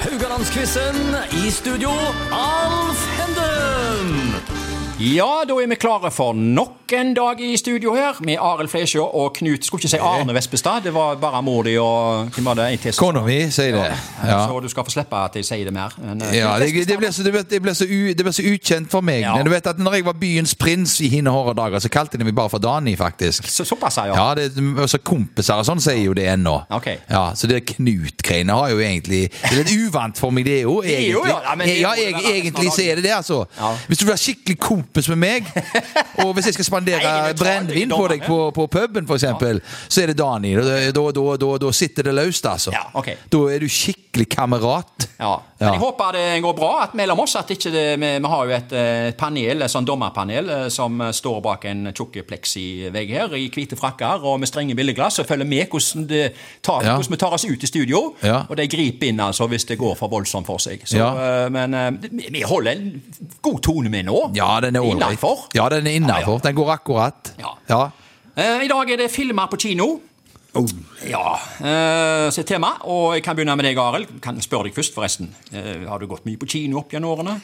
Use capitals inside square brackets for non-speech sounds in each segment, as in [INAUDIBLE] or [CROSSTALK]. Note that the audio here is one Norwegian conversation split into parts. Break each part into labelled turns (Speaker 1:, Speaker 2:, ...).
Speaker 1: Haugalandsquizen. I studio, Alf Henden.
Speaker 2: Ja, da er vi klare for nok en dag i studio her med Arild Flesjå og Knut Skulle ikke si Arne Vespestad, det var bare mor di og hvem var det? En til som-
Speaker 3: Kona mi sier det. Ja.
Speaker 2: Så du skal få slippe at jeg sier det mer. Men, eh,
Speaker 3: Ja,
Speaker 2: Knut
Speaker 3: det, det,
Speaker 2: Vespestad-
Speaker 3: ble så, det, ble, det, ble så u, det ble så ukjent for meg.
Speaker 2: Ja.
Speaker 3: Men Du vet at når jeg var byens prins i hine hårde dager, så kalte de meg bare for Dani, faktisk.
Speaker 2: Så, såpass, ja.
Speaker 3: Ja, det, også Kompiser og sånn sier jo det ennå.
Speaker 2: Ok.
Speaker 3: Ja, så det Knut-greiene har jo egentlig Det er litt uvant for meg, det er jo
Speaker 2: er
Speaker 3: egentlig.
Speaker 2: jo, ja. Ja, men det
Speaker 3: ja,
Speaker 2: må det
Speaker 3: jeg,
Speaker 2: være resten av
Speaker 3: egentlig så er det det, altså.
Speaker 2: Ja.
Speaker 3: Hvis du vil være skikkelig kompis med meg,
Speaker 2: [LAUGHS]
Speaker 3: og hvis jeg skal spandere
Speaker 2: Nei, men ta
Speaker 3: brennevin på
Speaker 2: det,
Speaker 3: deg på, på puben, for eksempel, så er det Dani. Da, da, da, da, da sitter det løst, altså.
Speaker 2: Ja, ok.
Speaker 3: Da er du skikkelig kamerat.
Speaker 2: Ja. Men jeg håper det går bra at mellom oss at ikke det, vi, vi har jo et eh, panel, et sånn dommerpanel eh, som står bak en tjukk plexivegg her i hvite frakker og med strenge bildeglass og følger med hvordan, det tar,
Speaker 3: Ja.
Speaker 2: hvordan vi tar oss ut i studio.
Speaker 3: Ja.
Speaker 2: Og de griper inn altså hvis det går for voldsomt for seg. Så,
Speaker 3: Ja.
Speaker 2: eh, men eh, vi- vi holder en god tone med nå.
Speaker 3: Ja, den er ålreit.
Speaker 2: Innenfor.
Speaker 3: Ja, den er innafor. Den går akkurat.
Speaker 2: Ja.
Speaker 3: ja.
Speaker 2: Eh, I dag er det filmer på kino.
Speaker 4: Oh.
Speaker 2: Ja. eh, så er tema, og jeg kan begynne med deg, Arild. Kan spørre deg først, forresten. Eh, har du gått mye på kino opp gjennom årene?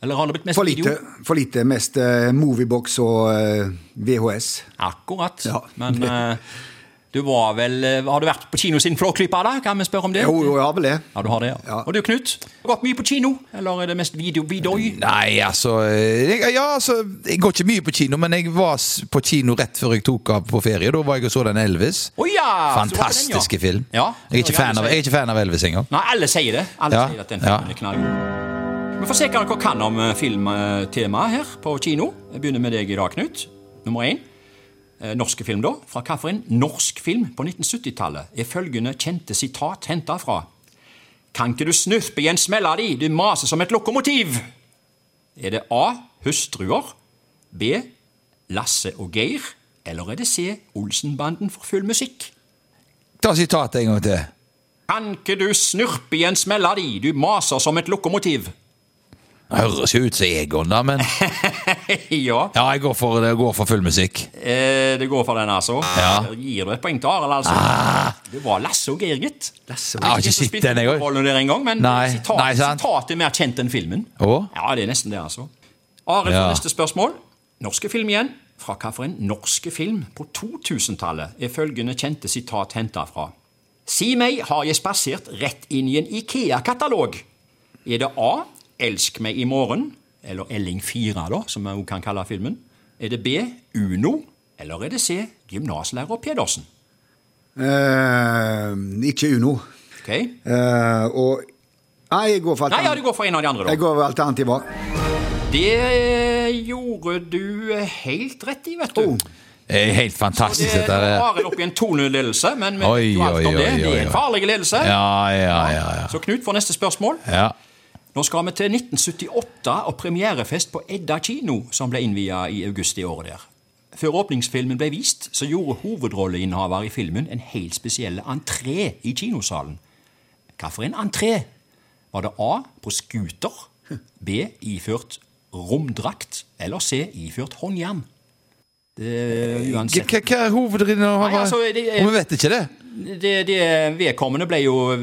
Speaker 2: Eller har det blitt mest
Speaker 4: For lite,
Speaker 2: video?
Speaker 4: for lite mest eh, moviebox og eh, VHS.
Speaker 2: Akkurat.
Speaker 4: Ja. [LAUGHS]
Speaker 2: Men eh, du var vel eh, Har du vært på kino siden Flåklypa, da? Kan vi spørre om det?
Speaker 4: Jo, jo, jeg har vel det.
Speaker 2: Ja, du har det, ja.
Speaker 4: Ja.
Speaker 2: Og du, Knut? Har du gått mye på kino? Eller er det mest video vidoi?
Speaker 3: Nei, altså jeg, Ja, altså Jeg går ikke mye på kino, men jeg var s- på kino rett før jeg tok av på ferie. Da var jeg og så den Elvis.
Speaker 2: Å ja! så du var på den, ja.
Speaker 3: Fantastiske film.
Speaker 2: Ja.
Speaker 3: jeg, er ikke fan av, jeg er ikke fan av Elvis engang.
Speaker 2: Nei, alle sier det. Alle
Speaker 3: Ja,
Speaker 2: sier at den
Speaker 3: ja.
Speaker 2: filmen er knallgod. Vi får se hva dere kan om filmtemaet her på kino. Jeg begynner med deg i dag, Knut. Nummer én. Eh, Norske film, da. Fra hvilken norsk film på 1970-tallet er følgende kjente sitat henta fra? Kan ikke du snurpe i en smell av de, du maser som et lokomotiv? Er det A. Hustruer? B. Lasse og Geir? Eller er det C. Olsenbanden for full musikk?
Speaker 3: Ta sitatet en gang til.
Speaker 2: Kan ikke du snurpe i en smell av de, du maser som et lokomotiv? [LAUGHS]
Speaker 3: Det høres jo ut som Egon, da, men
Speaker 2: ja,
Speaker 3: Ja, jeg går for, jeg går for full musikk.
Speaker 2: eh, det går for den, altså.
Speaker 3: Ja. Ah.
Speaker 2: Gir du et poeng til Arild, altså? Det var Lasse og Geir, gitt.
Speaker 4: Lasse,
Speaker 3: Jeg har ikke sett den, jeg òg.
Speaker 2: Rollen der en gang, men
Speaker 3: Nei,
Speaker 2: sitat,
Speaker 3: nei, sant.
Speaker 2: sitatet er mer kjent enn filmen.
Speaker 3: Å?
Speaker 2: Ja, det er nesten det, altså. Arild,
Speaker 3: Ja.
Speaker 2: for neste spørsmål. Norske film igjen. Fra hvilken norske film på 2000-tallet er følgende kjente sitat henta fra? Si meg, har jeg spasert rett inn i en Ikea-katalog? Er det A. Elsk meg i morgen? Eller Elling 4, da, som vi også kan kalle filmen. Er det B. Uno? Eller er det C. Gymnaslærer Pedersen?
Speaker 4: Eh, ikke Uno.
Speaker 2: Ok?
Speaker 4: Eh, og Nei, jeg går for
Speaker 2: Nei, ja,
Speaker 4: alternativ.
Speaker 2: du går for en av de andre, da.
Speaker 4: jeg går for alternativ A.
Speaker 2: Det gjorde du helt rett i, vet du.
Speaker 4: Oh.
Speaker 3: Det er Helt fantastisk,
Speaker 2: Det
Speaker 3: dette her.
Speaker 2: varer opp i en 2-0-ledelse, men vi
Speaker 3: Oi,
Speaker 2: vet jo alt om
Speaker 3: oi,
Speaker 2: det.
Speaker 3: oi,
Speaker 2: Det er en
Speaker 3: oi.
Speaker 2: farlig ledelse.
Speaker 3: Ja, ja, ja. ja.
Speaker 2: Så Knut får neste spørsmål.
Speaker 3: ja.
Speaker 2: Nå skal vi til 1978 og premierefest på Edda kino, som ble innvia i august i året der. Før åpningsfilmen ble vist, så gjorde hovedrolleinnehaver i filmen en helt spesiell entré i kinosalen. Hva for en entré? Var det A på scooter, B iført romdrakt eller C iført håndjern? Det er
Speaker 3: Hva-
Speaker 2: uansett
Speaker 3: Hva hva er hovedrinnen?
Speaker 2: Nei, altså, det er-
Speaker 3: Vi vet ikke det.
Speaker 2: det, det vedkommende ble jo eh,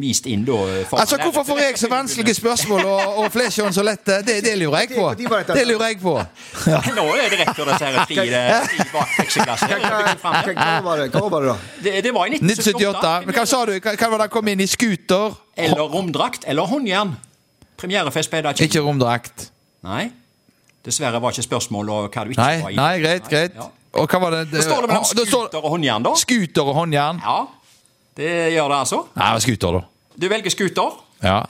Speaker 2: vist inn da. eh, for-
Speaker 3: Altså, Hvorfor får jeg så vanskelige spørsmål, og, og Flesjøen så lette? Det, det lurer jeg på.
Speaker 4: Det- det var dette.
Speaker 3: Det lurer jeg på.
Speaker 2: Nå er det rett før disse her tre i
Speaker 4: Hva, hva, hva,
Speaker 2: baktekstklassen.
Speaker 4: hva var det, hva var det da?
Speaker 2: Det, det var i
Speaker 3: 1978. Men hva sa du? Hva hva var det han kom inn i? Scooter?
Speaker 2: Eller romdrakt eller håndjern. Premierefest ble det ikke.
Speaker 3: Ikke romdrakt.
Speaker 2: Nei. Dessverre var ikke spørsmålet hva du ikke
Speaker 3: Nei,
Speaker 2: var i.
Speaker 3: nei, greit, greit.
Speaker 2: Ja.
Speaker 3: Og hva var det?
Speaker 2: Da står det mellom
Speaker 3: Da står-
Speaker 2: scooter og håndjern, da.
Speaker 3: Scooter og håndjern. Nei,
Speaker 2: Ja, det gjør det altså.
Speaker 3: det var scooter, da.
Speaker 2: Du velger scooter.
Speaker 3: Ja.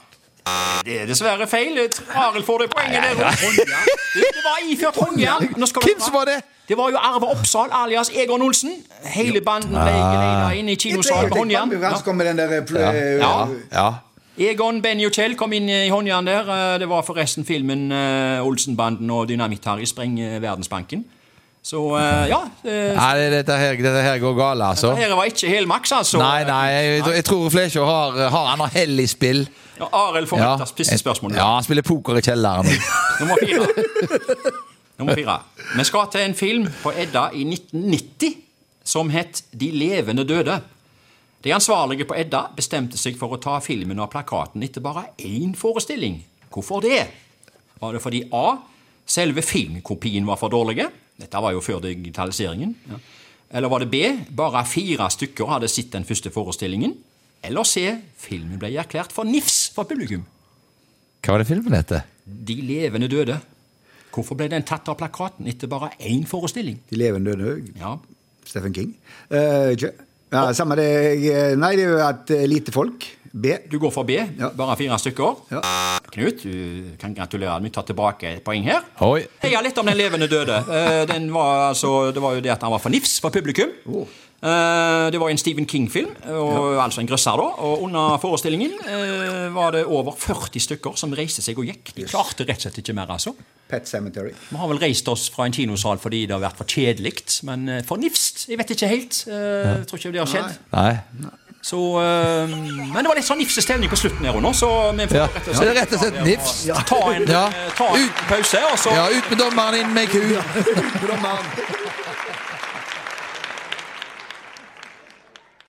Speaker 2: Det er dessverre feil. Arild får det poenget der. Håndjern. Du, Det var iført håndjern. Nå skal du
Speaker 3: Hvem som var det?
Speaker 2: Det var jo Arve Oppsal alias Egon Olsen. Hele banden ble
Speaker 3: Ah.
Speaker 2: geleida inn i kinosalen med håndjern.
Speaker 4: Han
Speaker 2: Ja.
Speaker 4: kom med den der eh, pl-
Speaker 2: Ja.
Speaker 3: ja.
Speaker 2: Egon, Benny og Kjell kom inn i håndjern der. Eh, Det var forresten filmen eh, Olsenbanden og Dynamitt-Harry sprenger eh, Verdensbanken. Så eh, ja eh,
Speaker 3: Nei, det- dette her, dette her går galt, altså.
Speaker 2: Her var ikke helmaks, altså.
Speaker 3: Nei, nei, jeg, jeg tror Flesjå har, har Han har hell i spill.
Speaker 2: Ja, Arild får altså,
Speaker 3: Ja.
Speaker 2: ja. siste spørsmål.
Speaker 3: ja, han spiller poker
Speaker 2: [LAUGHS]
Speaker 3: i kjelleren.
Speaker 2: Nummer fire. Nummer fire. Vi skal til en film på Edda i 1990 som het De levende døde. De ansvarlige på Edda bestemte seg for å ta filmen av plakaten etter bare én forestilling. Hvorfor det? Var det fordi A. Selve filmkopien var for dårlig? Dette var jo før digitaliseringen. Ja. Eller var det B. Bare fire stykker hadde sett den første forestillingen? Eller C. Filmen ble erklært for nifs for publikum.
Speaker 3: Hva var det filmen heter?
Speaker 2: De levende døde. Hvorfor ble den tatt av plakaten etter bare én forestilling?
Speaker 4: De levende døde òg.
Speaker 2: Ja,
Speaker 4: Stephen King. Eh, ikke? Ja, samme det. Jeg- Nei, det er jo at eh, lite folk. B.
Speaker 2: Du går for B, bare fire stykker.
Speaker 4: Ja.
Speaker 2: Knut, du kan gratulere. Vi tar tilbake et poeng her.
Speaker 3: Oi.
Speaker 2: Heia litt om den levende døde. Eh, Den var, altså, det var jo det at han var for nifs for publikum. Eh, Det var en Stephen King-film, og altså en grøsser, da. Og under forestillingen eh, var det over 40 stykker som reiste seg og gikk. De klarte rett og slett ikke mer, altså.
Speaker 4: Pet Cemetery.
Speaker 2: Vi har vel reist oss fra en kinosal fordi det har vært for kjedelig, men eh, for nifst. Jeg vet ikke helt. Eh, Jeg tror ikke det har skjedd.
Speaker 3: Nei.
Speaker 2: Så, eh, men det var litt sånn nifsestemning på slutten her og nå, så vi får
Speaker 3: Ja.
Speaker 2: rett og
Speaker 3: Så det er
Speaker 2: slett
Speaker 3: rett og slett nifs.
Speaker 2: ta en,
Speaker 3: Ja.
Speaker 2: eh, ta en
Speaker 3: Ut.
Speaker 2: pause, og så
Speaker 3: Ja, ut med dommeren, inn med ku.
Speaker 4: Hvordan var han?